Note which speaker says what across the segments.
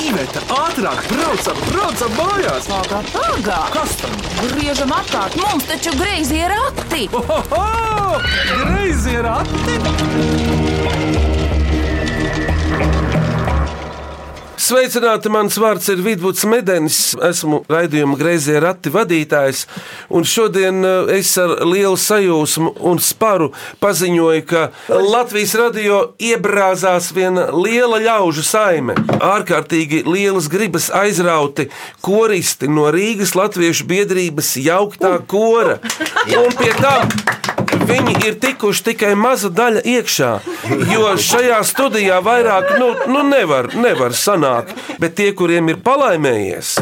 Speaker 1: Iveta, ātrāk, braucam, braucam mājās!
Speaker 2: Pagā, pagā!
Speaker 1: Kas tam?
Speaker 2: Griežam apkārt, mums taču greizi ir akti!
Speaker 3: Oh.
Speaker 1: Oho! Greizi ir ati!
Speaker 4: Sveicināti, mans vārds ir Vidvuds Medenis. Esmu raidījuma greizie rati vadītājs. Un šodien eh, es ar lielu sajūsmu un sparu paziņoju, ka Latvijas radio iebrāzās viena liela ļaužu saime. Ārkārtīgi lielas gribas aizrauti koristi no Rīgas Latviešu biedrības jauktā kora. Un pie tam Viņi ir tikuši tikai maza daļa iekšā, jo šajā studijā vairāk nu, nu nevar, nevar sanākt. Bet tie, kuriem ir palaimējies,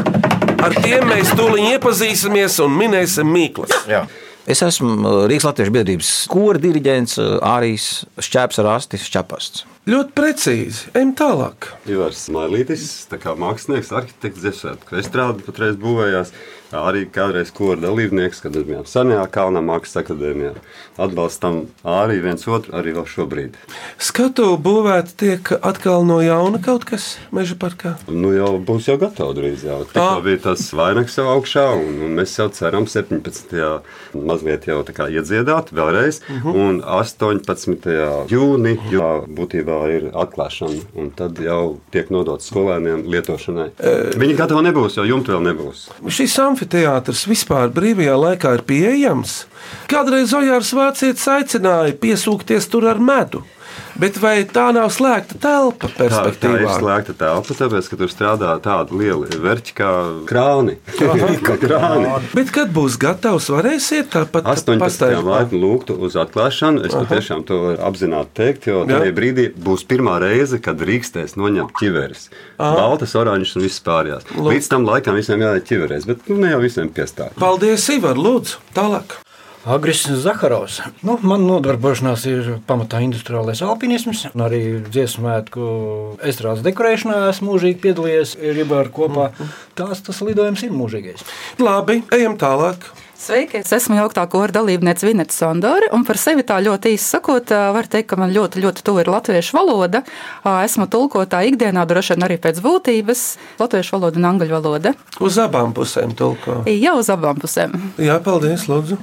Speaker 4: ar tiem mēs tūlīt iepazīsimies un minēsim mīklas.
Speaker 5: Jā.
Speaker 6: Es esmu Rīgas Latvijas biedrības kora diriģents, Arijas Čēpes, Rastis Čepasts.
Speaker 4: Ļoti precīzi, ejam tālāk.
Speaker 7: Ivars Mailītis, tā kā mākslinieks, arhitekts, dziesmēta krestrāde patreiz būvējās. Arī kādreiz kora dalībnieks, kad bijām senajā Kalnā mākslas akadēmijā. Atbalstam arī viens otru, arī vēl šobrīd.
Speaker 4: Skatu būvēta tiek atkal no jauna kaut kas meža parkā.
Speaker 7: Nu jau būs jau gatava drīz. Jau. Tikko
Speaker 4: Ah.
Speaker 7: bija tas vainags jau augšā, un, un mēs jau ceram 17. mazliet jau tā kā iedziedāt vēlreiz, uh -huh. un 18. jūni jau būtībā ir atklāšana, un tad jau tiek nodots skolēniem lietošanai. Viņi gatavi nebūs, jo jumta vēl nebūs.
Speaker 4: Šis amfiteātris vispār brīvajā laikā ir pieejams. Kādreiz Ojārs Vācietis aicināja piesūkties tur ar medu, bet vai tā nav slēgta telpa
Speaker 7: Tā, tā ir
Speaker 4: perspektīvā?
Speaker 7: slēgta telpa, tāpēc, ka tur strādā tāda liela verķa kā krāni. Kā krāni.
Speaker 4: Bet kad būs gatavs, varēsiet tāpat
Speaker 7: 18.
Speaker 4: pastaigāt?
Speaker 7: laipni lūgtu uz atklāšanu. Es patiešām to varu apzināti teikt, jo
Speaker 4: Jā.
Speaker 7: tajā brīdī būs pirmā reize, kad drīkstēs noņemt ķiveres. Baltas, oranžas un viss pārējās. Līdz tam laikam visiem jāiet ķiverēs, bet nu, ne jau visiem piestāv.
Speaker 4: Paldies, Ivar, lūdzu, tālāk.
Speaker 8: Agresors Zakarovs. Nu, man nodarbošanās ir pamatā industriālais alpinisms. un Arī dziesmu svētku estrādes dekorēšanā esmu mūžīgi piedalījies. Ir jau ar kopā tās tas lidojums ir mūžīgais.
Speaker 4: Labi, ejam tālāk.
Speaker 9: Sveiki! Es esmu jauktā kora dalībniece Vineta Sondore, un par sevi tā ļoti īsi sakot, ā, var teikt, ka man ļoti, ļoti tuva ir latviešu valoda. Ā, Esmu tulkotāja ikdienā, droši vien arī pēc būtības - latviešu valoda un angļu valoda.
Speaker 4: Uz abām pusēm tulko.
Speaker 9: Jau uz abām pusēm.
Speaker 4: Jā, paldies, lūdzu.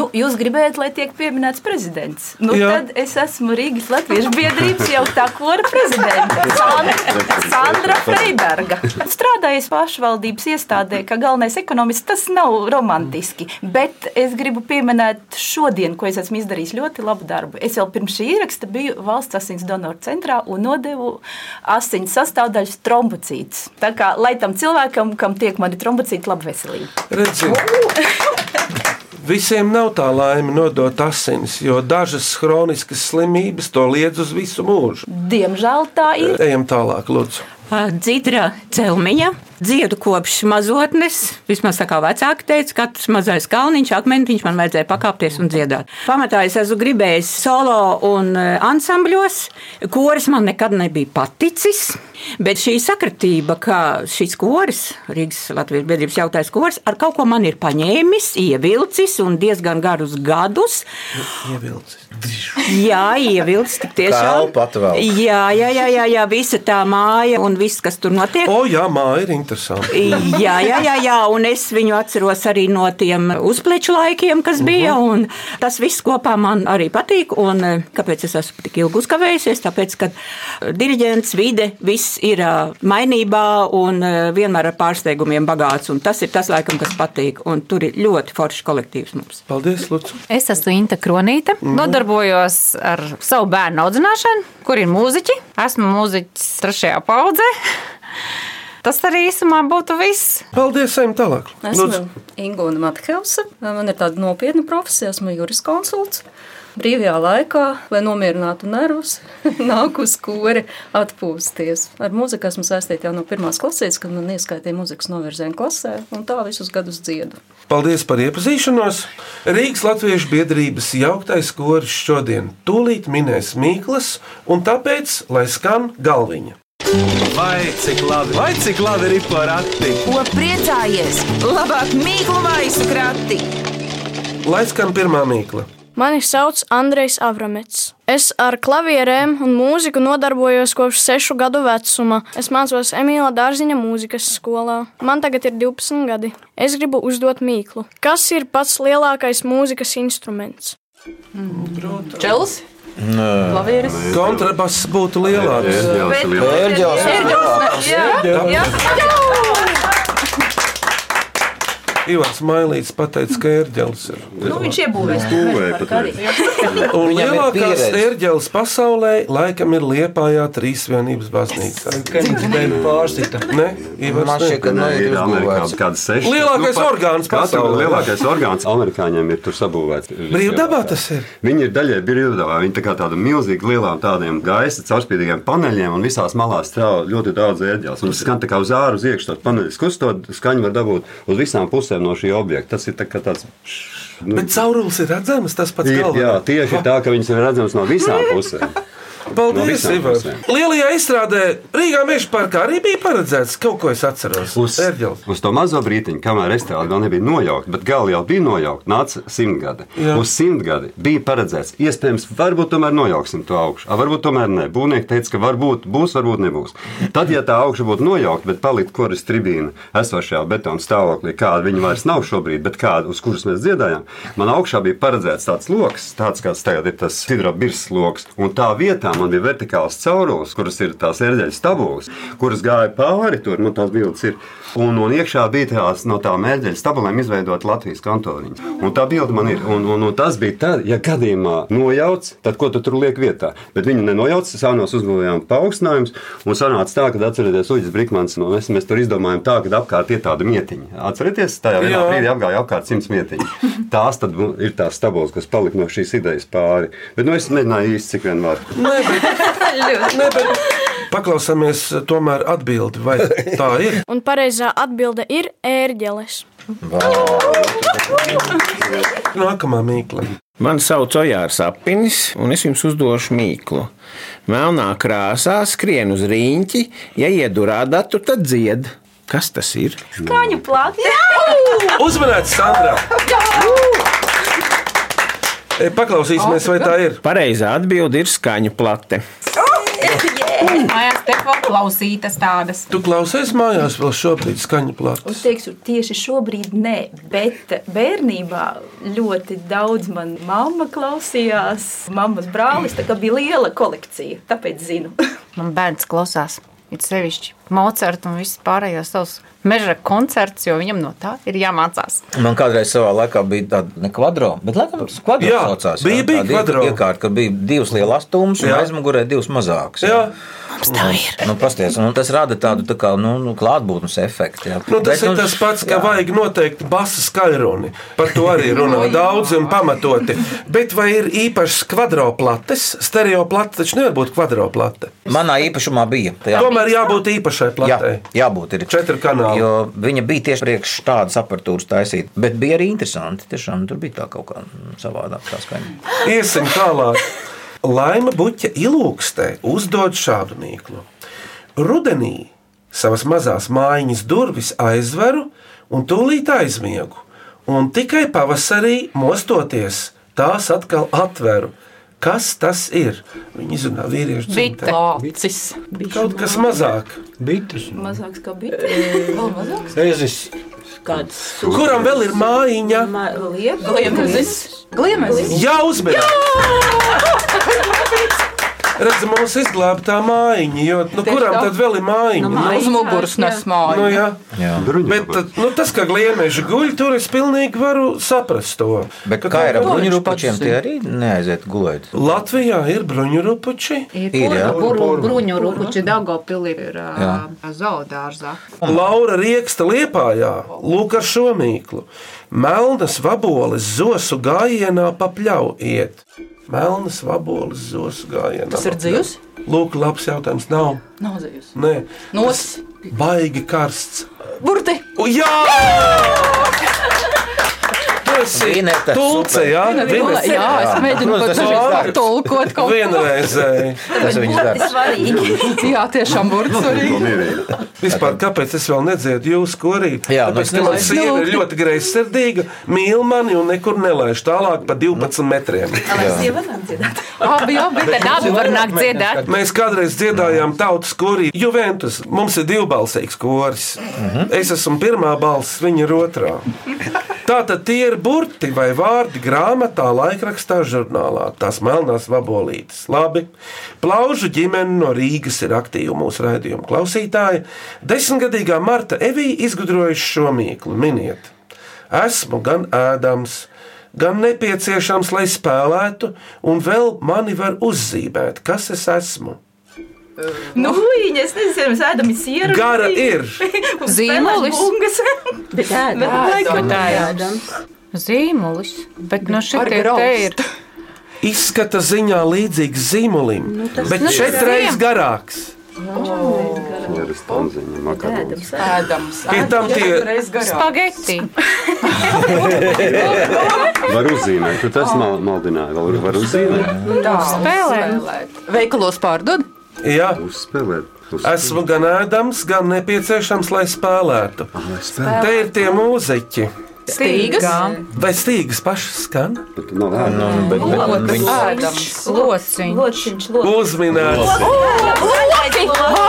Speaker 10: Nu, jūs gribējāt, lai tiek pieminēts prezidents. Nu,
Speaker 4: Jā.
Speaker 10: tad es esmu Rīgas Latvijas biedrības jau tā kora prezidenta Sandra, Sandra Freiberga. Strādājot pašvaldības iestādē, kā galvenais ekonomists, tas nav romantiski. Bet es gribu pieminēt šodien, ko es esmu izdarījis ļoti labu darbu. Es jau pirms šī ieraksta biju valsts asins donoru centrā un nodevu asins sastāvdaļas trombocītus. Tā kā lai tam cilvēkam, kam tiek mani trombocīti, laba veselība.
Speaker 4: Redziet. Visiem nav tā laime nodot asinis, jo dažas hroniskas slimības to liedz uz visu mūžu.
Speaker 10: Diemžēl tā ir.
Speaker 4: Ejam tālāk, lūdzu.
Speaker 11: Dzīvra celmiņa, Eh, dziedu kopš mazotnes, vismaz tā kā vecāki teica, katrs mazais kalniņš, akmentiņš man vajadzēja pakāpties un dziedāt. Pamatā es esmu gribējis solo un eh, ansambļos, koris man nekad nebija paticis, bet šī sakritība, ka šis koris, Rīgas Latvijas biedrības jautais koris, ar kaut ko man ir paņēmis, ievilcis un diezgan garus gadus.
Speaker 4: Ievilcis.
Speaker 11: Jā, ievilcis tik tiešām.
Speaker 5: Kalpu atvelk.
Speaker 11: Jā, jā, jā, jā, jā, visa tā māja un viss, kas tur notiek.
Speaker 4: O, jā, māja ir interesanta.
Speaker 11: Jā, jā, jā, jā, un es viņu atceros arī no tiem uzpleču laikiem, kas bija. un Tas viss kopā man arī patīk. Un, eh, kāpēc es esmu tik ilgi uzkavējusies? Tāpēc, ka eh, diriģents, vide, viss ir eh, mainībā un eh, vienmēr ar pārsteigumiem bagāts. un Tas ir tas, laikam, kas patīk. Un tur ir ļoti foršs kolektīvs mums.
Speaker 4: Paldies, lūdzu.
Speaker 3: Es esmu Inte Kronīte,
Speaker 10: Mhm.
Speaker 3: nodarbojos ar savu bērnu audzināšanu, kur ir mūziķi. Esmu mūziķis trešajā paudzē. Tas arī īsumā būtu viss.
Speaker 4: Paldies, ejam tālāk.
Speaker 12: Esmu Ingūna Matheusa. Man ir tāda nopietna profesija, esmu juriskonsults. Brīvajā laikā, lai nomierinātu nervus, nāk uz skori atpūsties. Ar muziku esmu saistīta jau no pirmās klases, kad man ieskaitīja muzikas novirzienu klasē, un tā visus gadus dziedu.
Speaker 4: Paldies par iepazīšanos! Rīgas Latviešu biedrības jauktais koris šodien tūlīt minēs Mīklas, un tāpēc, lai skan galviņa.
Speaker 1: Vai cik labi, vai cik labi ir porati!
Speaker 2: Ko priecājies? Labāk mīklu maisu krati!
Speaker 4: Lai skan pirmā mīkla.
Speaker 5: Mani sauc Andrejs Avramets. Es ar klavierēm un mūziku nodarbojos kopš sešu gadu vecuma. Es mācos Emīlā Dārziņa mūzikas skolā. Man tagad ir 12 gadi. Es gribu uzdot mīklu. Kas ir pats lielākais mūzikas instruments?
Speaker 2: Čels?
Speaker 4: Klavieris. Kontrabass būtu lielāks.
Speaker 7: Ērģeles ir lielāks.
Speaker 4: Ērģeles ir lielāks. Ērģeles. Ivars Mailīts pateica, ka ērģeles ir.
Speaker 10: Nu, viņš iebūvēs.
Speaker 7: Būvēja pat arī.
Speaker 4: Un
Speaker 6: Viņam ir
Speaker 4: lielākās
Speaker 6: pieredze.
Speaker 4: ērģeles pasaulē laikam ir Liepājā Trīsvienības baznīcā.
Speaker 8: Bērni pārsita.
Speaker 4: Ne? Ivars
Speaker 6: Man šķiet, ka
Speaker 4: ne.
Speaker 6: nu,
Speaker 7: Ir
Speaker 6: ir
Speaker 7: Amerikā
Speaker 6: uzbūvēts.
Speaker 7: kāda seša.
Speaker 4: Lielākais orgāns
Speaker 7: Katru
Speaker 4: pasaulē.
Speaker 7: lielākais orgāns amerikāņiem ir tur sabūvēts.
Speaker 4: Brīvdabā tas ir.
Speaker 7: Viņi ir daļai brīvdabā. Viņi tā kā tāda milzīga lielām tādiem gaisa caurspīdīgiem paneļiem un visās malās strāv ļoti daudz ērģeles. Un tas skan tā kā uz āru, uz iekšā tas paneļs kustot, skaņu var dabūt uz visām pusēm no šī objekta. Tas ir tā kā tāds. Nu,
Speaker 4: Bet caurulis ir redzams, tas pats
Speaker 7: ir, jā,
Speaker 4: galvenais.
Speaker 7: tieši tā, ka viņas ir redzamas no visām pusēm. No
Speaker 4: Paldies,
Speaker 7: visām
Speaker 4: Ivar.
Speaker 7: pusēm.
Speaker 4: Lielajā izstrādē Rīgā Meža parkā arī bija paredzēts kaut ko es atceros.
Speaker 7: Uz,
Speaker 4: Ērģeles.
Speaker 7: uz to mazo brīdiņu, kamēr restorāna vēl nebija nojaukta, bet gala jau bija nojaukta, nāca simtgadi.
Speaker 4: Jā.
Speaker 7: Jā. Uz simtgadi bija paredzēts, iespējams, varbūt tomēr nojauksim to augšu. A, varbūt tomēr nē. Būvnieki teica, ka varbūt būs, varbūt nebūs. Tad, ja tā augša būtu nojaukta, bet palikt koris tribīna esošajā betona stāvoklī, kāda viņa vairs nav šobrīd, bet kāda, uz kuras mēs dziedājām, man augšā bija paredzēts tāds lokus, tāds kāds tagad ir tas hidrobirs lokus. Un tā vietā man bija vertikāls caurulis, kuras ir tās ērģeļu stabulas, kuras gāja pāri tur, man tās bildes ir. Un, un iekšā bija tās no tām ērģeļu stabulēm izveidot Latvijas kantoriņu. Un tā bilde man ir. Un, un, un tas bija tad, ja gadījumā nojauc, tad ko tu tur liek vietā. Bet viņi nenojauc, sānos uzbūvējām paaugstinājumus. Un sanāca tā, ka atcerieties, Uģis Brīkmans, no mēs, mēs tur izdomājām tā, ka apkārt ir tāda mietiņa. Atcerieties, tajā vienā
Speaker 4: Jā.
Speaker 7: brīdī apgāja apkārt simts mietiņu. Tās tad bu- ir tās stabulas, kas palika no šīs idejas pāri. Bet nu, es mēģināju īsti cik vien varu.
Speaker 4: Nē, bet, nē, bet paklausāmies eh, tomēr atbildi, vai tā ir.
Speaker 5: Un pareizā atbilde ir ērģeles.
Speaker 4: Nākamā mīkla.
Speaker 13: Mani sauc Ojārs Apinis, un es jums uzdošu mīklu. Melnā krāsā skrien uz rīņķi, ja iedurā datu, tad dzied. Kas tas ir?
Speaker 10: Kāņu plakā.
Speaker 4: Uzmanīts, Sandra! E, Paklausīsimies, vai tā ir.
Speaker 13: Pareizā atbilde ir skaņu plate.
Speaker 10: Mājās te vēl klausītas tādas.
Speaker 4: Tu klausies mājās vēl šobrīd skaņu plānu.
Speaker 10: Es teiktu, tieši šobrīd nē, bet bērnībā ļoti daudz manā mamma klausījās. Mammas brālis tā kā bija liela kolekcija, tāpēc zinu.
Speaker 3: Man bērns klausās. Ir sevišķi Mocarta un viss pārējos savus meža koncerts, jo viņam no tā ir jāmācās.
Speaker 6: Man kādreiz savā laikā bija tāda ne kvadro, bet laikam kvadro
Speaker 4: Jā,
Speaker 6: saucās.
Speaker 4: bija- bija
Speaker 6: tāda ie-
Speaker 4: kvadro.
Speaker 6: Iekārta, ka bija divas lielas stūmas un
Speaker 4: Jā.
Speaker 6: aizmugurē divas mazākas.
Speaker 4: Jā,
Speaker 3: Mums tā ir.
Speaker 6: Nu, pasties, nu, tas rada tādu tā kā, nu, nu, klātbūtnes efektu. jā.
Speaker 4: nu, tas
Speaker 6: Bet,
Speaker 4: ir tas pats, ka vajag noteikti basa skaļruni. Par to arī
Speaker 6: Nu,
Speaker 4: runā daudz un pamatoti. Bet vai ir īpašs kvadroplates? Stereoplate taču nevar būt kvadroplate.
Speaker 6: Manā īpašumā bija. Tajā,
Speaker 4: Tomēr jābūt īpašai
Speaker 6: jā,
Speaker 4: platei.
Speaker 6: jābūt ir.
Speaker 4: Četri kanāli.
Speaker 6: Jo viņa bija tieši priekš tādas apatūras taisīta. Bet bija arī interesanti. Tiešām tur bija tā kaut kā mm, savādāk tā skaņa.
Speaker 4: Iesim tālāk. Laima Buķa ilūkstē uzdod šādu mīklu. Rudenī savas mazās mājiņas durvis aizveru un tūlīt aizmiegu, un tikai pavasarī mostoties tās atkal atveru. Kas tas ir? Viņa izrunā vīriešu dzimteni.
Speaker 3: Bitlocis.
Speaker 4: Kaut kas mazāk.
Speaker 8: Bites.
Speaker 10: Mazāks kā bites. Vēl mazāks.
Speaker 8: Reizes.
Speaker 11: Kāds
Speaker 4: Kuram vēl ir mājiņa?
Speaker 10: Liepais.
Speaker 11: Gliemezis.
Speaker 4: Jā, uzmanīgi! Redz, mums izglāba tā mājiņa, jo nu, kuram tad vēl ir mājiņa? Nu,
Speaker 11: mājiņa.
Speaker 9: Uz muguras nesmāju.
Speaker 4: Nu, jā.
Speaker 6: Jā.
Speaker 7: Druņi
Speaker 4: Bet tad, nu, tas, ka gliemeži guļ, tur es pilnīgi varu saprast to.
Speaker 6: Bet
Speaker 4: Ka
Speaker 6: kā
Speaker 4: tā-
Speaker 6: ir ar bruņurupučiem? Tie arī neaiziet gulēt.
Speaker 4: Latvijā ir bruņurupuči.
Speaker 14: Ir
Speaker 6: Ir, jā.
Speaker 14: bruņu rupuči, Dāngopilī ir
Speaker 6: Jā.
Speaker 14: zoodārzā.
Speaker 4: Laura rieksta liepājā, lūk ar šo mīklu. Melnas vaboles zosu gājienā papļau iet. Melnas vaboles zosu gājienā.
Speaker 2: Tas ir
Speaker 4: papļau.
Speaker 2: dzīvs?
Speaker 4: Lūk, labs jautājums. Nav.
Speaker 2: Nav dzīves.
Speaker 4: Nē.
Speaker 2: Nos.
Speaker 4: Tas Baigi karsts.
Speaker 2: Burti!
Speaker 4: U, jā! Tu esi
Speaker 6: Vineta,
Speaker 4: tulce,
Speaker 6: super.
Speaker 4: jā?
Speaker 6: Vineta,
Speaker 4: Vineta.
Speaker 6: jā, es Jā. mēģinu Nu, kaut tas ko viņš dara.
Speaker 9: tulkot kaut ko.
Speaker 4: Vienreizēji.
Speaker 6: Tas viņš dara.
Speaker 9: Jā, tiešām burts arī.
Speaker 4: Vispār, kāpēc es vēl nedzirdu jūsu korī? Jā, Tāpēc,
Speaker 6: nu,
Speaker 4: ka
Speaker 6: es
Speaker 4: man
Speaker 6: nelaidu.
Speaker 4: sieva ir ļoti greizsirdīga, mīl mani un nekur nelaiž tālāk
Speaker 6: Nu.
Speaker 4: par 12 metriem.
Speaker 3: Abi, abi, tad abi var nākt dziedāt.
Speaker 4: Mēs kādreiz dziedājām tautas korī Juventus. Mums ir divbalsīgs koris. Es esmu pirmā balss, viņa ir otrā. Tātad tie ir burti vai vārdi grāmatā, laikrakstā, žurnālā. Tās melnās vabolītes. Labi. Plaužu ģimene no Rīgas ir aktīva mūsu raidījuma klausītāja. Desmitgadīgā Marta Evija izgudrojusi šo mīklu. Miniet, esmu gan ēdams, gan nepieciešams, lai spēlētu, un vēl mani var uzzīmēt, kas es esmu.
Speaker 10: Nu, viņa, es nezinu, sēdam sieru.
Speaker 4: Gara ir.
Speaker 3: Zīmolis.
Speaker 10: Bet tā
Speaker 3: Bet laikam tā ir.
Speaker 10: Ēdams.
Speaker 3: Zīmolis. Bet no šī
Speaker 10: Ar
Speaker 3: te
Speaker 10: graustu.
Speaker 3: ir.
Speaker 4: Izskata ziņā līdzīgs zīmolim, nu,
Speaker 3: tas-
Speaker 4: bet
Speaker 3: nu, tas
Speaker 4: četras
Speaker 3: ziem.
Speaker 4: garāks.
Speaker 7: Ir stanziņa, makaronis.
Speaker 14: Ēdams.
Speaker 4: Pie tam tie-
Speaker 3: Spageti.
Speaker 7: Var uzzīmēt, tu tas mal, maldināji, vēl var uzzīmēt.
Speaker 9: Spēlē. Veikalos pārdod.
Speaker 4: Jā,
Speaker 7: uzspēlēt.
Speaker 4: Esmu gan ēdams, gan nepieciešams, lai spēlētu.
Speaker 7: spēlē.
Speaker 4: Te ir tie mūziķi.
Speaker 3: Stīgas.
Speaker 4: Vai stīgas pašas skan?
Speaker 7: Nu, Bet nav ēdams.
Speaker 3: Locis. Lociņš.
Speaker 10: Lociņš.
Speaker 4: Uzminēts.
Speaker 7: Nu,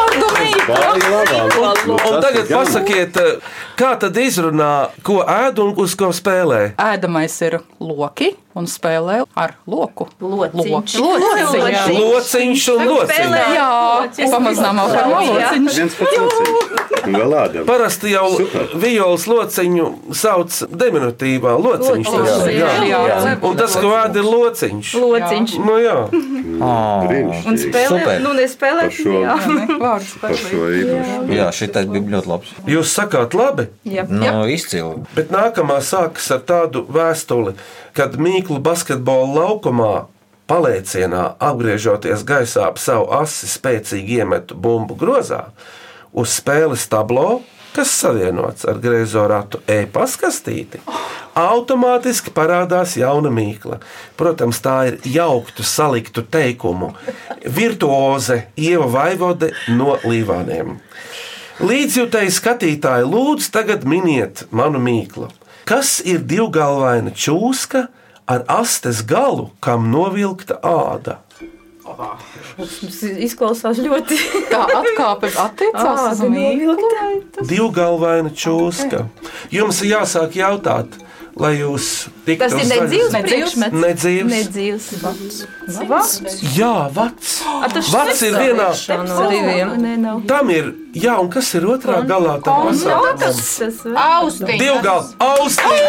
Speaker 4: Un tagad pasakiet, kā tad izrunā, ko ēd un uz ko spēlē?
Speaker 9: Ēdamais ir loki un spēlē ar loku.
Speaker 10: Lociņš.
Speaker 9: Loki. Lociņš.
Speaker 10: Lociņš.
Speaker 4: Lociņš un lociņš.
Speaker 9: Jā, pamazām jau par lociņš.
Speaker 7: Viens pats lociņš. Un vēl ēdams.
Speaker 4: Parasti jau vijoles lociņu sauc diminutīvā lociņš. Tas,
Speaker 7: Lociņš.
Speaker 4: jā.
Speaker 7: Jā.
Speaker 4: Jā. Un tas, ko ēd, ir lociņš.
Speaker 10: Lociņš.
Speaker 4: Nu, jā.
Speaker 10: Un spēlē, nu nespēlē.
Speaker 7: Par šo-
Speaker 10: jā.
Speaker 9: Vārds
Speaker 7: Par šo īpašu.
Speaker 6: Jā, šitais bija ļoti labs.
Speaker 4: Jūs sakāt labi?
Speaker 10: Jā.
Speaker 6: Nu, izcili.
Speaker 4: Bet nākamā sākas ar tādu vēstuli, kad Mīklu basketbola laukumā paliecienā, apgriežoties gaisā ap savu asi, spēcīgi iemetu bumbu grozā uz spēles tablo, kas savienots ar griezo ratu e-paskastīti. Automātiski parādās jauna mīkla. Protams, tā ir jauktu, saliktu teikumu. Virtuoze Ieva Vaivode no Līvāniem. Līdzjutēji skatītāji, lūdzu, tagad miniet manu mīklu. Kas ir divgalvaina čūska ar astes galu, kam novilkta āda?
Speaker 10: Tas izklausās ļoti.
Speaker 9: Tā atkāpe attiecās uz
Speaker 10: Ah.
Speaker 9: mīklu.
Speaker 4: Divgalvaina čūska. Jums ir jāsāk jautāt, lai jūs tiktu
Speaker 10: Tas ir
Speaker 4: uz
Speaker 10: nedzīvs
Speaker 4: zaļas-
Speaker 10: priekšmets.
Speaker 4: Nedzīvs.
Speaker 10: Nedzīvs. Vats.
Speaker 4: Jā, vats.
Speaker 10: A, tas
Speaker 4: Vats ir
Speaker 10: šis
Speaker 4: vienā.
Speaker 10: vēl ir? No diviem. Nē, nav.
Speaker 4: Tam ir, jā, un kas ir otrā galā? tam pasaules?
Speaker 10: Kondoms. Austiņas.
Speaker 4: Divgalva, austiņa.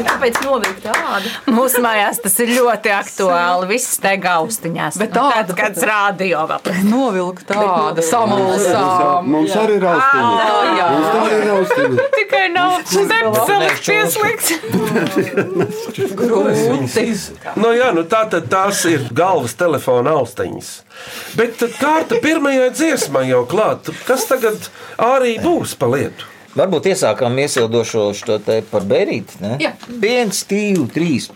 Speaker 10: Kāpēc novilkt tādu?
Speaker 3: Mūsu mājās tas ir ļoti aktuāli. Viss te gaustiņās. Bet tāds kāds rādio vēl.
Speaker 9: Novilkt tādu samulsām.
Speaker 7: Mums arī ir austiņa.
Speaker 9: jā.
Speaker 7: Mums arī ir austiņa.
Speaker 3: Tikai nav sepselis pieslikts.
Speaker 4: Nu, jā, nu tā tad tās ir galvas telefona austiņas. Bet tad kārta pirmajai dziesmai jau klāta. Kas tagad arī būs pa lietu?
Speaker 6: Varbūt iesākām iesildošo šo te par bērīti. ne?
Speaker 2: Jā.
Speaker 6: Viens, divi, trīs.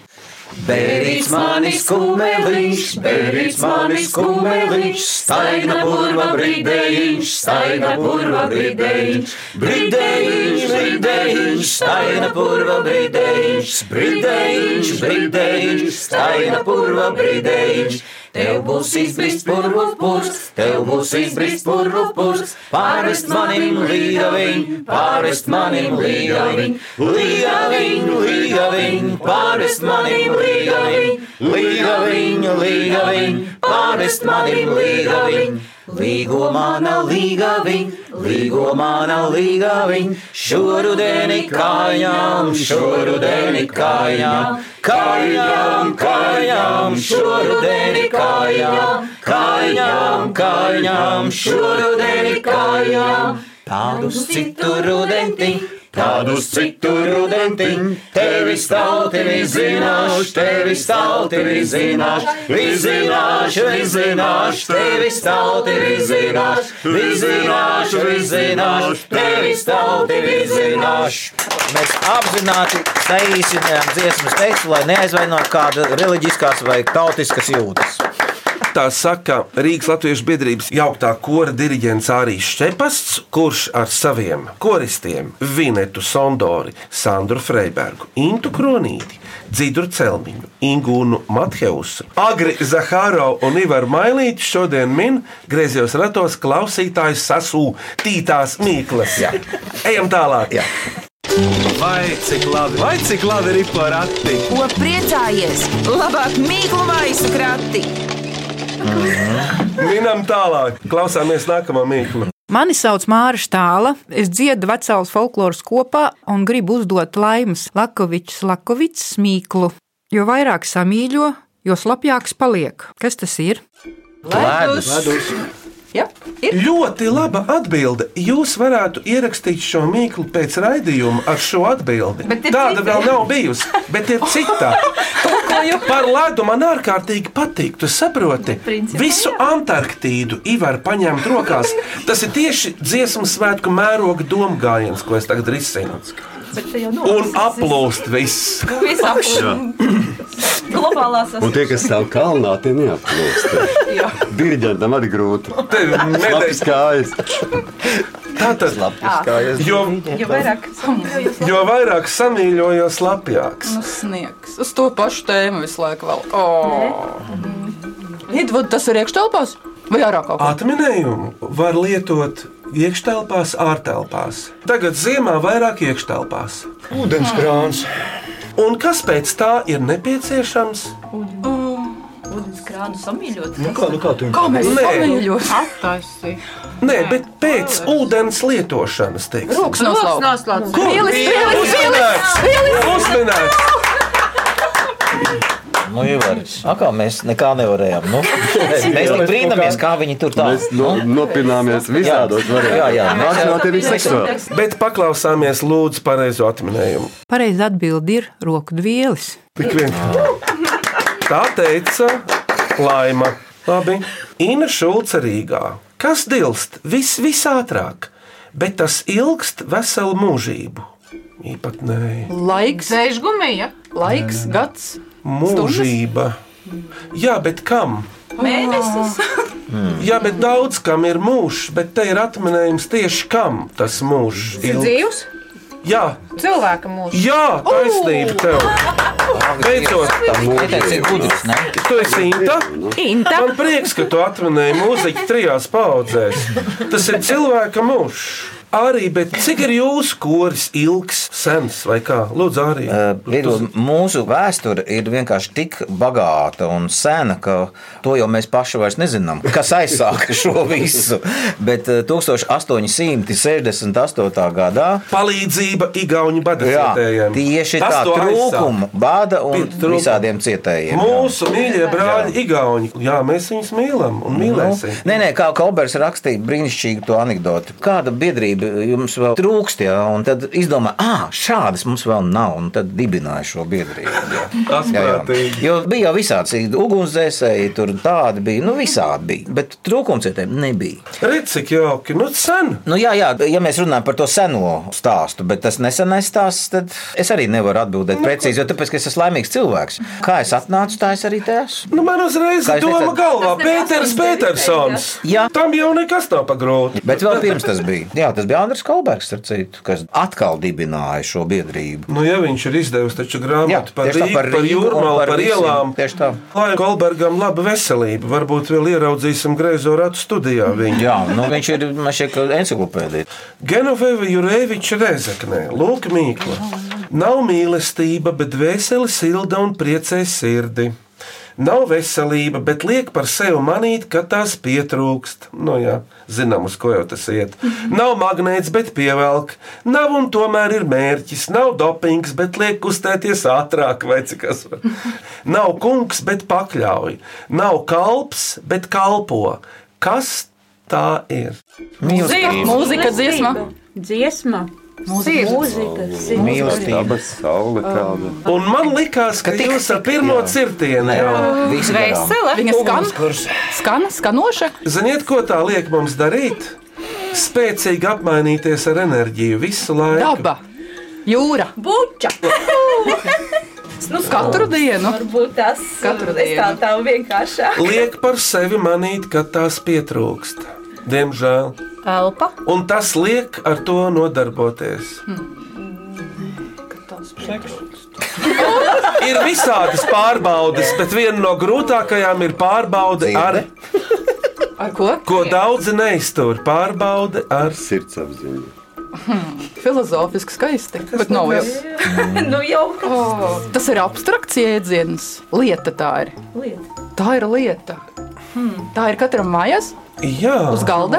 Speaker 2: Bērīts manis kumeliņš, bērīts manis kumeliņš, staigna burva brīdējiņš, staigna burva brīdējiņš, brīdējiņš, brīdējiņš, staigna burva brīdējiņš, brīdējiņš, brīdējiņš, staigna burva brīdējiņš. Tev būs izbrīts purvu purs, tev būs izbrīts purvu purs, pārest manim līgaviņ, pārest manim līgaviņ, līgaviņ, līgaviņ, pārest manim līgaviņ, līgaviņ, līgaviņ, pārest manim līgaviņ. Līgo mana līgaviņ, līgo mana līgaviņ, šorudeni kājām, šorudeni kājām, kājām, kājām, šorudeni kājām, kājām, kājām, šorudeni kājām. Tādus citu rudenti, Kādus citur rudentiņ, tevi stalti vizināšu, tevi stalti vizināšu, vizināšu, vizināšu, tevi stalti vizināšu, vizināšu, vizināšu, tevi stalti vizināšu.
Speaker 6: Mēs apzināti saīsinājām dziesmas tekstu, lai neaizvainotu kādu reliģiskās vai tautiskas jūtas.
Speaker 4: Tā saka Rīgas Latvijas biedrības jauktā kora diriģentsĀrijas Štepasts, kurš ar saviem koristiem Vinetu Sondori, Sandru Freibergu, Intu Kronīti, Dzidru Celmiņu, Ingūnu Matheusu, Agri Zahāro un Ivaru Mailīti šodien min griezījos ratos klausītājs sasūtītās mīklas. Jā. Ejam tālāk! Jā.
Speaker 1: Vai cik labi, vai cik labi ir porakti?
Speaker 2: Ko priecājies? Labāk mīklu maisu krati!
Speaker 4: Minam tālāk, klausāmies nākamā mīklu.
Speaker 15: Mani sauc Māra Štāla, es dziedu vecāles folkloras kopā un gribu uzdot laimas Lakovičs, Lakovičs mīklu. Jo vairāk samīļo, jo slapjāks paliek. Kas tas ir?
Speaker 2: Ledus. Ledus.
Speaker 4: Jā, ļoti laba atbilde. Jūs varētu ierakstīt šo mīklu pēc raidījuma ar šo atbildi. Tāda
Speaker 2: cita,
Speaker 4: vēl
Speaker 2: jā.
Speaker 4: nav bijusi, bet ir cita. Par ledu man ārkārtīgi patīk. Tu saproti,
Speaker 2: principā,
Speaker 4: visu Antarktīdu Ivar paņemt rokās. Tas ir tieši dziesmu svētku mēroga domgājiens, ko es tagad risinu.
Speaker 10: Bet te jau
Speaker 4: Un
Speaker 10: nolasīsi.
Speaker 4: aplūst viss.
Speaker 10: Viss
Speaker 7: Jā.
Speaker 10: aplūst. Globālā
Speaker 7: Un
Speaker 10: sasaukumā.
Speaker 7: tie, kas stāv kalnā, tie neapgūst. Diriģentam arī grūti.
Speaker 4: Tev
Speaker 7: nedēļas kājas.
Speaker 4: Tātad,
Speaker 7: kājas.
Speaker 4: jo,
Speaker 14: Jo vairāk samulējos.
Speaker 4: jo vairāk samīļo, jo slapjāks.
Speaker 14: Nu, sniegs. Uz to pašu tēmu visu laiku vēl. Oh. Iedod tas ir iekštelpās vai ārā kaut kā?
Speaker 4: Atminējumu var lietot iekštelpās, ārtelpās. Tagad ziemā vairāk iekštelpās.
Speaker 8: Ūdenskrāns.
Speaker 4: Un kas pēc tā ir nepieciešams?
Speaker 10: Ūdenskrānu Um, samīļot.
Speaker 4: Nu kā, nu kā tu-
Speaker 10: Kā mēs
Speaker 4: Nē.
Speaker 10: samīļot? Attaisi.
Speaker 4: Nē, bet pēc ūdens lietošanas, teiksim,
Speaker 14: Rokas noslauc. noslauc.
Speaker 4: Kur?
Speaker 14: Vielas, vielas,
Speaker 4: Uzmanīgs!
Speaker 14: vielas, vielas.
Speaker 4: Uzmanīgs!
Speaker 6: Nu, Ivaris, akā mēs nekā nevarējām. Nu, mēs tik brīnamies, kā viņi tur tā Nu?
Speaker 7: Mēs no, nopināmies visādos variantos.
Speaker 6: Jā, jā.
Speaker 7: Nāc no tevis seksuāli.
Speaker 4: Bet paklausāmies lūdzu pareizo atminējumu.
Speaker 15: Pareizi atbild ir roku dvielis.
Speaker 4: Tik vien. Tā teica Laima. Labi. Ina Šulce Rīgā. Kas dilst vis, visātrāk, bet tas ilgst veselu mūžību? Īpatnēji.
Speaker 14: Laiks. Zēžgumija. Laiks, gads.
Speaker 4: Mūžība. Jā, bet kam?
Speaker 14: Mēnesis.
Speaker 4: Jā, bet daudz kam ir mūžs, bet te ir atminējums tieši kam tas mūžs
Speaker 16: Ir
Speaker 4: ilg-
Speaker 16: dzīvs
Speaker 4: Jā,
Speaker 16: cilvēka mūžs.
Speaker 4: jā taisnība tev. Beidzot, tu esi Inta.
Speaker 11: Inta.
Speaker 4: Man prieks, ka tu atminēji mūziķu trijās paudzēs. Tas ir cilvēka mūžs. Arī, bet cik ir jūsu koris ilgs, sens vai kā? Lūdzu, arī.
Speaker 6: Viegli, mūsu vēsture ir vienkārši tik bagāta un sena, ka to jau mēs paši vairs nezinām, kas aizsāka šo visu. Bet eh, 1868. gadā
Speaker 4: palīdzība Igaunijas bada
Speaker 6: Jā,
Speaker 4: cietējiem.
Speaker 6: Tieši
Speaker 4: Tas
Speaker 6: tā,
Speaker 4: to
Speaker 6: trūkuma,
Speaker 4: aizsāk.
Speaker 6: bada un
Speaker 4: Pie trūkuma.
Speaker 6: visādiem cietējiem. jā. Nu.
Speaker 4: Mūsu mīļie brāļi, Igauni. Jā, mēs viņus mīlam un mīlēsim.
Speaker 6: Nē, nē, kā Kalbers rakstīja brīnišķīgu to anekdoti. Kāda biedrība jums vēl trūkst, jā, un tad izdomāja, ah, šādas mums vēl nav, un tad dibināja šo biedrību. Jā.
Speaker 2: Astprātīgi.
Speaker 6: Jo bija jau visādi citi ugunsdzēsēji, tur tādi bija, nu visādi bija, bet trūkumcietēm nebija.
Speaker 4: Redz, cik jauki, nu sen.
Speaker 6: Nu, jā, jā, ja mēs runājam par to seno stāstu, bet tas nesenais stāsts, tad es arī nevaru atbildēt nu, precīzi, jo tāpēc, ka es esmu laimīgs cilvēks. Kā es atnācu, tā es arī te esmu.
Speaker 4: Nu, man uzreiz
Speaker 6: Kā es
Speaker 4: doma
Speaker 6: teicu?
Speaker 4: galvā - Pēters Petersons.
Speaker 6: Jā.
Speaker 4: Tam jau nekas nav pagrūti.
Speaker 6: Bet vēl pirms tas bija. Jā, tas bija Andris Kalbergs, starp citu, kas atkal dibināja šo biedrību.
Speaker 4: Nu, ja viņš ir izdevis taču grāmatu par
Speaker 6: tieši tā,
Speaker 4: Rīgu,
Speaker 6: par
Speaker 4: par, par
Speaker 6: Rīgu un
Speaker 4: jūrmālu, par,
Speaker 6: par
Speaker 4: par
Speaker 6: visiem.
Speaker 4: ielām,
Speaker 6: tieši tā.
Speaker 4: Lai Kolbergam laba veselība, varbūt vēl ieraudzīsim greizo ratu studijā viņu.
Speaker 6: Jā, nu, viņš ir encyklopēdija.
Speaker 4: Genoveva Jurēviča Rezeknē, Lūk, Mīkla. Nav mīlestība, bet veseli silda un priecē sirdi. Nav veselība, bet liek par sevi manīt, ka tās pietrūkst. Nu, jā, zinām, uz ko jau tas iet. Nav magnēts, bet pievelk. Nav un tomēr ir mērķis. Nav dopings, bet liek kustēties ātrāk, vai cik tas var. Nav kungs, bet pakļauj. Nav kalps, bet kalpo. Kas tā ir?
Speaker 11: Mūzika,
Speaker 10: Mūzika, dziesma.
Speaker 11: Dziesma.
Speaker 7: Mīlestība, saule
Speaker 9: Um,
Speaker 7: kāda.
Speaker 4: Un man likās, ka jūs ar pirmo cirtienu
Speaker 14: Vesela. Viņa skan. Skan, skanoša.
Speaker 4: Ziniet, ko tā liek mums darīt? Spēcīgi apmainīties ar enerģiju visu laiku.
Speaker 14: Daba, jūra,
Speaker 10: buča. Nu,
Speaker 14: Katru dienu.
Speaker 10: Varbūt tas
Speaker 14: Katru
Speaker 10: es tā
Speaker 14: dienu.
Speaker 10: tā vienkāršāk.
Speaker 4: Liek par sevi manīt, ka tās pietrūkst. Diemžēl.
Speaker 10: Elpa.
Speaker 4: Un tas liek ar to nodarboties.
Speaker 14: Hm.
Speaker 4: Ir visādas pārbaudes, bet viena no grūtākajām ir pārbaude ar,
Speaker 14: ar ko?
Speaker 4: ko daudzi neiztur. Pārbaude ar
Speaker 7: sirdsapziņu.
Speaker 14: Filozofiski skaisti. Bet nav jau.
Speaker 10: nu jau.
Speaker 14: Oh, tas ir abstrakts jēdziens. Lieta tā ir.
Speaker 10: Lieta.
Speaker 14: Tā ir lieta. Hmm. Tā ir katram mājās.
Speaker 4: Jā.
Speaker 14: Uz galda.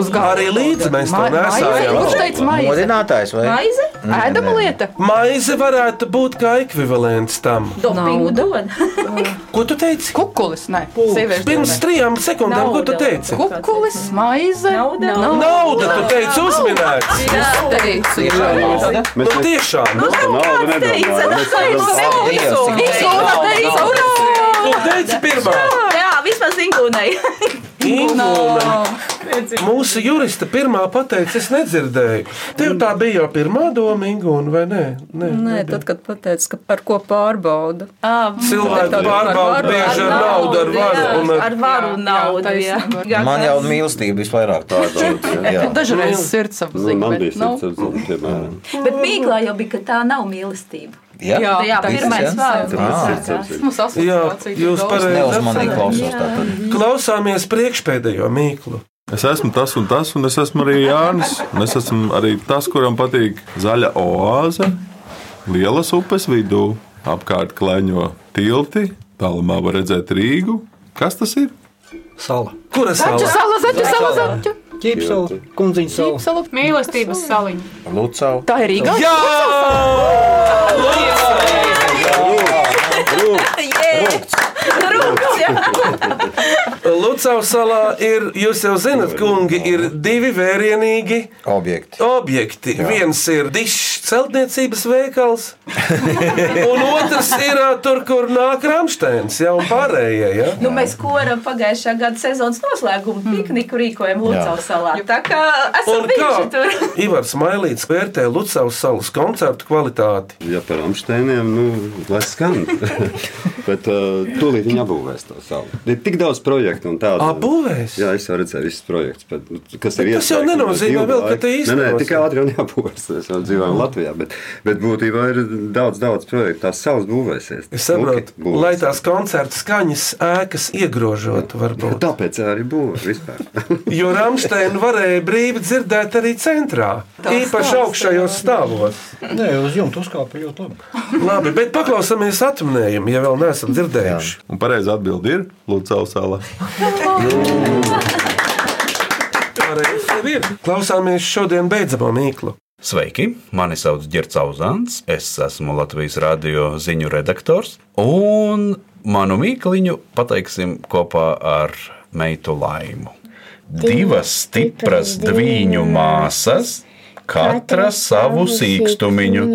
Speaker 14: Uz galda.
Speaker 4: Arī līdzi mēs to
Speaker 14: Ma- maize?
Speaker 4: nesājām.
Speaker 14: Kurš teica maize?
Speaker 6: Modinātājs vai? Mm,
Speaker 14: Maize? Ēdama lieta.
Speaker 4: Maize varētu būt kā ekvivalents tam.
Speaker 10: Dopingu dod.
Speaker 4: Ko tu teici?
Speaker 14: Kukulis, nē, sieviešu
Speaker 4: Pirms
Speaker 14: dēļ.
Speaker 4: trijām sekundēm, ko tu teici?
Speaker 14: Kukulis, maize, nauda.
Speaker 4: Nauda, tu teici, uzminēts.
Speaker 14: Jā, teicu.
Speaker 4: Nu, tiešām.
Speaker 7: Nu, naudu nedomāju. Mēs nedomājam.
Speaker 4: Tu teici pirmā.
Speaker 10: Jā, vismaz ingūnai.
Speaker 4: Ingūna. Mūsu jurista pirmā pateica, es nedzirdēju. Tev tā bija jau pirmā doma, Ingūna, vai ne? Nē.
Speaker 12: Nē, tad, kad pateicu, ka par ko pārbauda.
Speaker 4: Cilvēki
Speaker 12: Tad
Speaker 4: pārbauda bieži ar naudu, ar varu.
Speaker 10: jā,
Speaker 4: un
Speaker 10: Ar varu un naudu. jā. Jā,
Speaker 6: Man
Speaker 10: tas-
Speaker 6: jau mīlestība visvairāk tāda.
Speaker 14: Dažreiz sirdsapziņa,
Speaker 6: Nu, man
Speaker 14: bet
Speaker 6: bija
Speaker 14: nav.
Speaker 6: sirdsapziņa, piemēram.
Speaker 10: Bet Mīklā jau bija, ka tā nav mīlestība.
Speaker 6: Jā?
Speaker 10: jā, Nu jā
Speaker 6: Ticis,
Speaker 10: pirmais
Speaker 6: jā?
Speaker 10: vārds.
Speaker 6: Ah.
Speaker 14: Mums
Speaker 4: Jā,
Speaker 14: asociācija. ir
Speaker 4: jūs
Speaker 14: daudz.
Speaker 4: pareizi
Speaker 6: Neuzmanīgi klausos
Speaker 4: atcerēties. Klausāmies priekšpēdējo mīklu.
Speaker 16: Es esmu tas un tas, un es esmu arī Jānis. Un es esmu arī tas, kuram patīk zaļa oāze, lielas upes vidū, apkārt kleņo tilti, tālumā var redzēt Rīgu. Kas tas ir?
Speaker 8: Sala.
Speaker 4: Kura
Speaker 8: Zaķu
Speaker 14: sala, zaķu sala, zaķu.
Speaker 8: Ķīpsela, kundziņa sala.
Speaker 14: Salu.
Speaker 3: Mīlestības saliņa.
Speaker 6: Lucau.
Speaker 14: Tā ir Rīga.
Speaker 8: Jā!
Speaker 4: Lucavsalā ir, jūs jau zinat, kungi, ir divi vērienīgi
Speaker 6: objekti.
Speaker 4: objekti. Jā. Viens ir dišs celtniecības veikals, un otrs ir ā, tur, kur nāk Rāmsteins, ja un pārējie. Ja?
Speaker 10: Nu, mēs koram pagājušā gada sezonas noslēgumu
Speaker 14: Hmm.
Speaker 10: pikniku rīkojam Lūdzau salā. Tā kā esam
Speaker 4: Un
Speaker 10: bijuši
Speaker 4: kā
Speaker 10: tur.
Speaker 4: Ivars Mailīts vērtē Lucavas salas koncertu kvalitāti?
Speaker 7: Ja par amstēniem, nu, lai skan. Bet uh, tūlīt viņa būvēs to savu. Ir tik daudz projektu un tādu.
Speaker 4: Apbūvēs?
Speaker 7: Jā, es jau redzēju visus projektus, bet, nu, kas
Speaker 4: Bet tas
Speaker 7: ir
Speaker 4: jau
Speaker 7: iesākti,
Speaker 4: nenozīmē
Speaker 7: ilgu
Speaker 4: vēl, ka
Speaker 7: laiku.
Speaker 4: te
Speaker 7: Nē, nē,
Speaker 4: īstenos.
Speaker 7: tik ātri jau nebūvēs. Mēs jau dzīvojam Latvijā, bet, bet būtībā ir daudz, daudz projektu. Tās salas būvēsies.
Speaker 4: Es saprotu,
Speaker 7: Smuki būvēs.
Speaker 4: lai tās koncerta skaņas ēkas iegrožotu, varbūt.
Speaker 7: Tāpēc arī būvēs vispār.
Speaker 4: Jo Rāmsteinu varēja brīvi dzirdēt arī centrā,
Speaker 8: Tā
Speaker 4: īpaši
Speaker 8: stāsta,
Speaker 4: augšējos stāvos.
Speaker 8: Nē, uz jumta uzkāpa ļoti labi.
Speaker 4: Labi, bet paklausāmies atminējumu, ja vēl neesam dzirdējuši.
Speaker 16: Un pareizi atbild ir Lucau sala.
Speaker 4: Pareizi tev ir. Klausāmies šodien beidzamo mīklu.
Speaker 17: Sveiki, mani sauc Girts Uzants, es esmu Latvijas radio ziņu redaktors, un manu mīkliņu pateiksim kopā ar meitu Laimu. Divas stipras dviņu māsas, katra savu sīkstumiņu.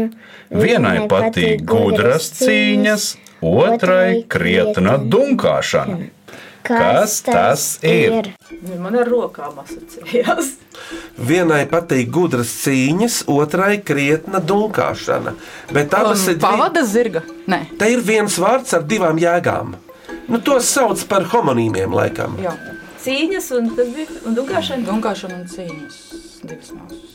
Speaker 17: Vienai patīk gudras cīņas, otrai krietna dunkāšana. Kas tas ir?
Speaker 10: Man ar rokām asociējās.
Speaker 4: Vienai patīk gudras cīņas, otrai krietna dulkāšana. Bet abas ir divi-
Speaker 14: Pavada zirga. Nē.
Speaker 4: Te ir viens vārds ar divām jēgām. Nu, to sauc par homonīmiem, laikam.
Speaker 14: Jā.
Speaker 10: Cīņas un, kas bija- un dugāšana.
Speaker 14: Dunkāšana un cīņas. Divas māsas.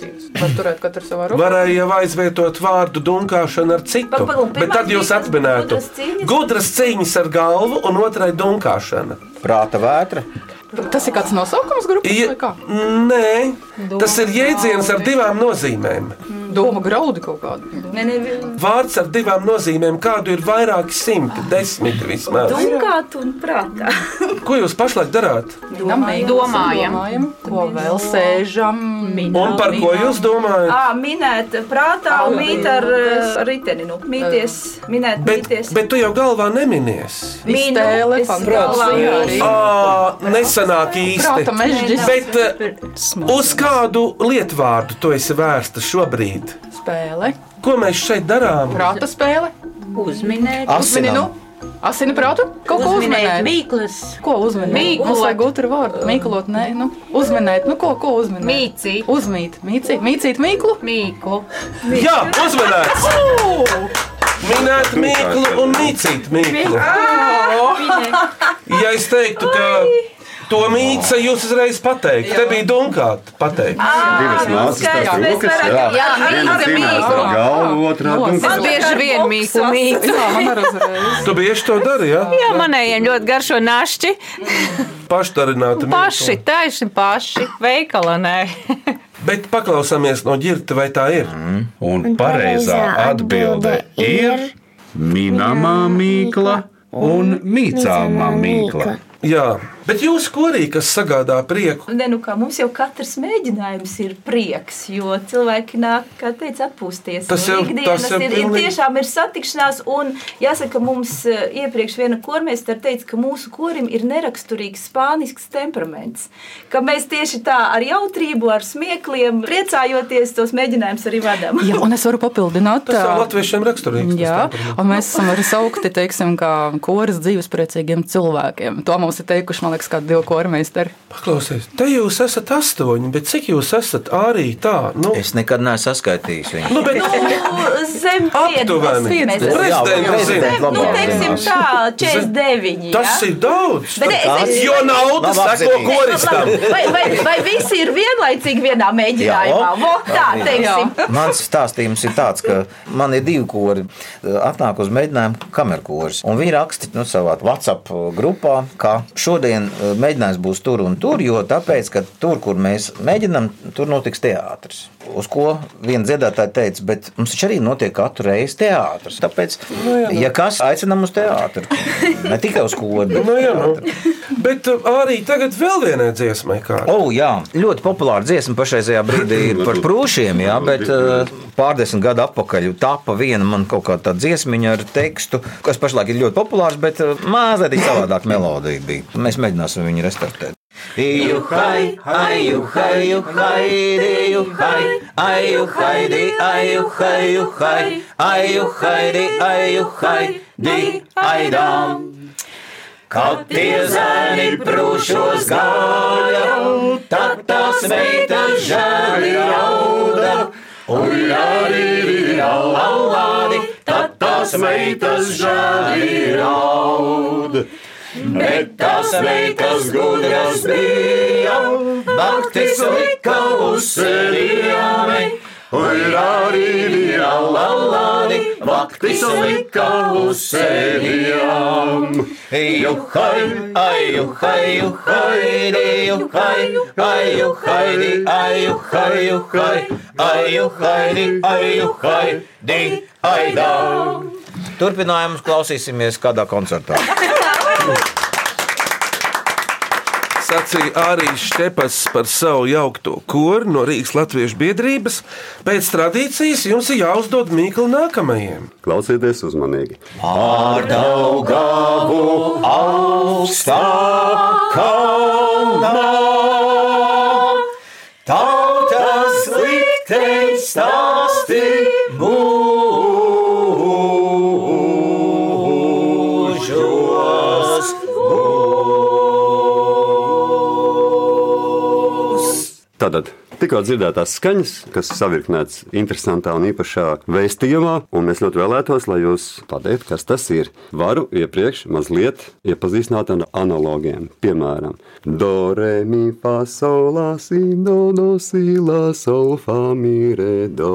Speaker 14: Divas. Var turēt katru savā rokā.
Speaker 4: Varēja jau aizvietot vārdu dunkāšanu ar citu,
Speaker 14: Pag- pagaid,
Speaker 4: bet tad
Speaker 14: pirmais
Speaker 4: jūs
Speaker 14: bija tas
Speaker 4: atminētu
Speaker 14: gudras cīņas?
Speaker 4: gudras cīņas ar galvu un otrai dunkāšana.
Speaker 6: Prāta vētra.
Speaker 14: Tas ir kāds nosaukums grupas
Speaker 4: Ja,
Speaker 14: vai kā?
Speaker 4: nē, tas ir jēdziens ar divām nozīmēm.
Speaker 14: Doma graudu kaut kādu.
Speaker 18: Nē, nē,
Speaker 4: Vārds ar divām nozīmēm, kādu ir vairāki simti, desmit vismaz.
Speaker 18: Domāt un prātā.
Speaker 4: Ko jūs pašlaik darāt?
Speaker 14: Domājam,
Speaker 10: Domājam.
Speaker 14: domājam, ko vēl sēžam.
Speaker 4: Un par ko jūs domājat?
Speaker 10: Ā, Minēt prātā,
Speaker 14: Ā,
Speaker 10: mīt ar eh, riteni, nu, mīties, minēt, mīties.
Speaker 4: Bet tu jau galvā neminies.
Speaker 10: Mīnu,
Speaker 14: Iztēle,
Speaker 10: es galvā-
Speaker 14: fantāzija arī.
Speaker 4: Ā, Nesanāk
Speaker 14: Prāta
Speaker 4: īsti.
Speaker 14: mežģis.
Speaker 4: Bet eh, uz kādu lietvārdu tu esi vērsta šobrīd?
Speaker 14: Spēle.
Speaker 4: Ko mēs šeit darām?
Speaker 14: Prāta spēle. Uzminēt. Uzmini,
Speaker 4: Asinām.
Speaker 14: nu. Asini prātu? Kaut ko
Speaker 11: Uzminēt
Speaker 14: uzminēt.
Speaker 11: mīklas.
Speaker 14: Ko uzminēt?
Speaker 11: Mīklot.
Speaker 14: Mums vajag otru vārdu. Mīklot, nē, nu. Uzminēt, nu ko, ko uzminēt? Mīcīt. Uzmīt, mīcīt, mīcīt mīklu. Mīklu.
Speaker 4: Jā, uzmanēts! Minēt mīklu un mīcīt mīklu. Ja es teiktu, ka to mīca jūs uzreiz pateikt, te bija dunkāt pateikt.
Speaker 7: Divas nācis, tās
Speaker 4: skaidrs, mēs
Speaker 7: rūkas,
Speaker 4: varam-
Speaker 7: jā.
Speaker 4: jā, mīkla,
Speaker 7: Viena zīmēs ar
Speaker 4: mīkla.
Speaker 7: galvu, otrā
Speaker 11: Es
Speaker 7: dunkas.
Speaker 11: bieži vien mīlu mītu.
Speaker 4: Tu bieži to dari, jā?
Speaker 11: Jā, manējiem ļoti garšo našķi.
Speaker 4: Paštarināti
Speaker 11: Paši, taisni paši, veikalā nē.
Speaker 4: Bet paklausāmies no ģirta, vai tā ir.
Speaker 17: Un pareizā atbilde ir minamā mīkla un mīcāmā mīkla.
Speaker 4: Jā, bet jūs korī, kas sagādā prieku,
Speaker 10: Nē, nu kā mums jau katrs mēģinājums ir prieks, jo cilvēki nāk, kā teica, atpūsties.
Speaker 4: Tas
Speaker 10: Un
Speaker 4: jau-
Speaker 10: ikdienas
Speaker 4: tas jau
Speaker 10: ir, ir
Speaker 4: pilnīgi-
Speaker 10: tiešām ir satikšanās, un jāsaka, mums eh, iepriekš viena kormēstara teica, ka mūsu korim ir neraksturīgs spānisks temperaments, ka mēs tieši tā ar jautrību, ar smiekliem, priecājoties tos mēģinājumus arī vadām.
Speaker 14: Jā, un es varu papildināt.
Speaker 4: tas jau latviešiem raksturīgs. tas
Speaker 14: Jā,
Speaker 4: temperaments.
Speaker 14: un mēs esam arī saukti, teiksim, kā koris dzīvespriecīgiem cilvēkiem. To mums ir teikuši, man liekas, kādi divi kormeisteri.
Speaker 4: Paklausies, te jūs esat astoņi, bet cik jūs esat arī tā? Nu,
Speaker 6: Es nekad neesmu saskaitījis viņu.
Speaker 4: nu, bet,
Speaker 10: Nu, Zem
Speaker 4: Aptuveni.
Speaker 10: piecdesmit mēs-
Speaker 4: Prezidents
Speaker 10: Zem,
Speaker 4: zina.
Speaker 10: Nu, teiksim tā, 49.
Speaker 4: Tas
Speaker 10: ja?
Speaker 4: ir daudz.
Speaker 10: Bet es- es-
Speaker 4: jo nauda
Speaker 6: Labi
Speaker 4: sako
Speaker 6: apzinīgi.
Speaker 4: koristam.
Speaker 10: Vai, vai, vai visi ir vienlaicīgi vienā mēģinājumā?
Speaker 6: Jā, o.
Speaker 10: Vo, tā,
Speaker 6: Jā.
Speaker 10: teiksim.
Speaker 6: Mans stāstījums ir tāds, ka man ir divi kori. eh, Atnāk uz mēģinājumu kamerkurs. Un viņi raksta nu, savā WhatsApp grupā, ka šodien eh, mēģinājums būs tur un tur, jo tāpēc, ka tur, kur mēs mēģinām, tur notiks teātris. Uz ko viena dziedātāja teica, bet mums taču arī notiek katru reizi teātris. Tāpēc,
Speaker 4: Nu
Speaker 6: ja kas, aicinām uz teātru. Ne tikai uz kodu.
Speaker 4: Nu, jā, nu. Bet uh, arī tagad vēl vienai dziesmai, kā
Speaker 6: Oh, jā, ļoti populāra dziesma pašreizajā brīdī ir par prūšiem, jā, bet eh, pārdesmit gadu atpakaļ tapa viena man kaut kāda tāda dziesmiņa ar tekstu, kas pašlaik ir ļoti populārs, bet eh, mazliet savādāk melodija bija. Mēs mēģināsim viņu restartēt.
Speaker 2: Juhai, hai, juhai, juhai, di, juhai, ai, juhai, di, ai, juhai, juhai, ai, juhai, di, ai, juhai, di, ai, dam. Kaut tie zēni prūšos gāja, tad tās meitas žēli jauda. Un arī laulādi, tad tās meitas žēli jauda. Bet tās meitas gudras bija, naktis lika uz sērijām. Un arī laulādi, naktis lika uz sērijām. Juhai, ai, juhai, juhai, di, juhai, ai, juhai, di, ai, juhai, juhai, ai, juhai, di, ai, juhai, di, ai, dam.
Speaker 6: Turpinājumus klausīsimies kādā koncertā.
Speaker 4: sacīja arī Štepas par savu jaukto koru no Rīgas Latviešu biedrības. Pēc tradīcijas jums ir jāuzdod mīklu nākamajiem.
Speaker 7: Klausieties uzmanīgi.
Speaker 2: Pārdaugavu augstā kalnā. Tautas likteņi stāsti mūžos būs.
Speaker 7: Tātad tikko dzirdētās skaņas, kas savirknētas interesantā un īpašā vēstījumā, un mēs ļoti vēlētos, lai jūs pateiktu, kas tas ir. Varu iepriekš mazliet iepazīstināt ar analogiem. Piemēram, do, re, mi, fa, sol, la, si, do, do, si, la, sol, fa, mi, re, do.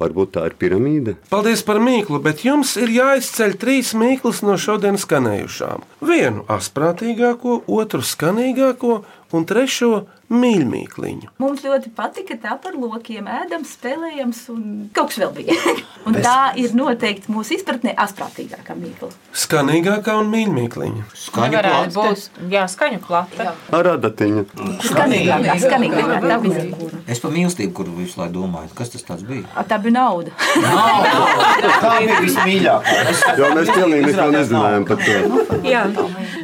Speaker 7: Varbūt tā ir piramīda.
Speaker 4: Paldies par mīklu, bet jums ir jāizceļ trīs mīklas no šodienas skanējušām. Vienu asprātīgāko, otru skanīgāko un trešo mīļmīkliņu.
Speaker 10: Mums ļoti patika tā par lokiem, ēdam, spēlējams, un kaut kas vēl bija. un tā ir noteikti mūsu izpratnē astprātīgākā mīkla.
Speaker 4: Skanīgākā un mīļākā.
Speaker 3: Nevarētu būt. Jā, skaņu klāta.
Speaker 7: Radatiņa.
Speaker 10: Skanīgākā, skanīgākā. Tā bija.
Speaker 6: Es par mīlestību, kuru visu laiku domāju, kas tas tāds bija.
Speaker 10: A, Tā bija nauda.
Speaker 6: Tā bija vismīļākā.
Speaker 7: Jo mēs pilnīgi neko nezinājām par to.
Speaker 10: Jā,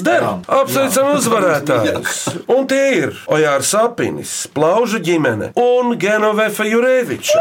Speaker 4: Darām, apsveicam uzvarētājus. Un tie ir Ojārs Apinis, Plaužu ģimene un Genovefa Jureviča.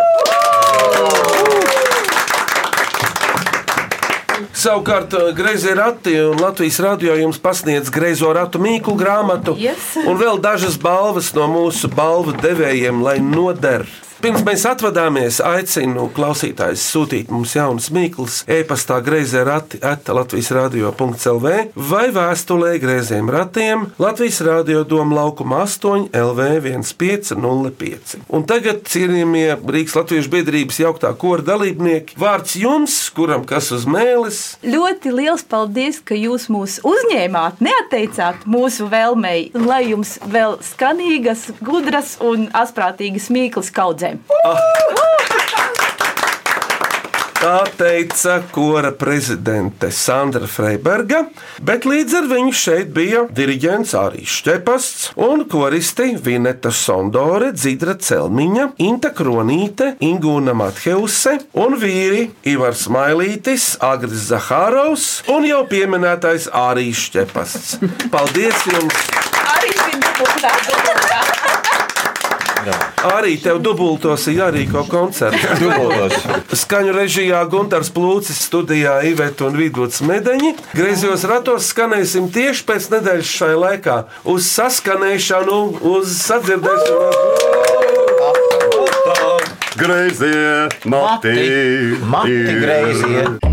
Speaker 4: Savukārt, grazījā rati un Latvijas radio jums pasniedz greizo ratu mīklu grāmatu.
Speaker 19: Yes.
Speaker 4: Un vēl dažas balvas no mūsu balvu devējiem, lai noder. Pirms mēs atvadāmies, aicinu klausītājus sūtīt mums jaunas mīklas, e-pastā grazījā rati at Latvijas radio.clv vai vēstulē grazījiem ratiem Latvijas radio Doma laukuma 8 LV 1505. Un tagad, cienījamie Rīgas Latvijas biedrības jauktā kora dalībnieki, vārds jums, kuram kas uz mēlis,
Speaker 10: Ļoti liels paldies, ka jūs mūs uzņēmāt, neatteicāt mūsu vēlmei, lai jums vēl skanīgas, gudras un astprātīgas mīklas kaudzēm.
Speaker 4: Tā teica kora prezidente Sandra Freiberga, bet līdz ar viņu šeit bija diriģents Arīšs Čepasts un koristi Vineta Sondore, Dzidra Celmiņa, Inta Kronīte, Ingūna Matheuse un vīri Ivars Mailītis, Agris Zahāraus un jau pieminētais Arīšs Čepasts. Paldies jums!
Speaker 10: Arī šī dubultā dubultā.
Speaker 4: Arī tev dubultos ir jārīko koncerts. Skaņu režijā Gunārs Plūcis, studijā Iveta un Vidvuds Medeņi. Griezos ratos skanēsim tieši pēc nedēļas šai laikā. Uz saskanēšanu, uz sadzirdēšanu.
Speaker 7: Greizie, mati,
Speaker 6: Mati greizie.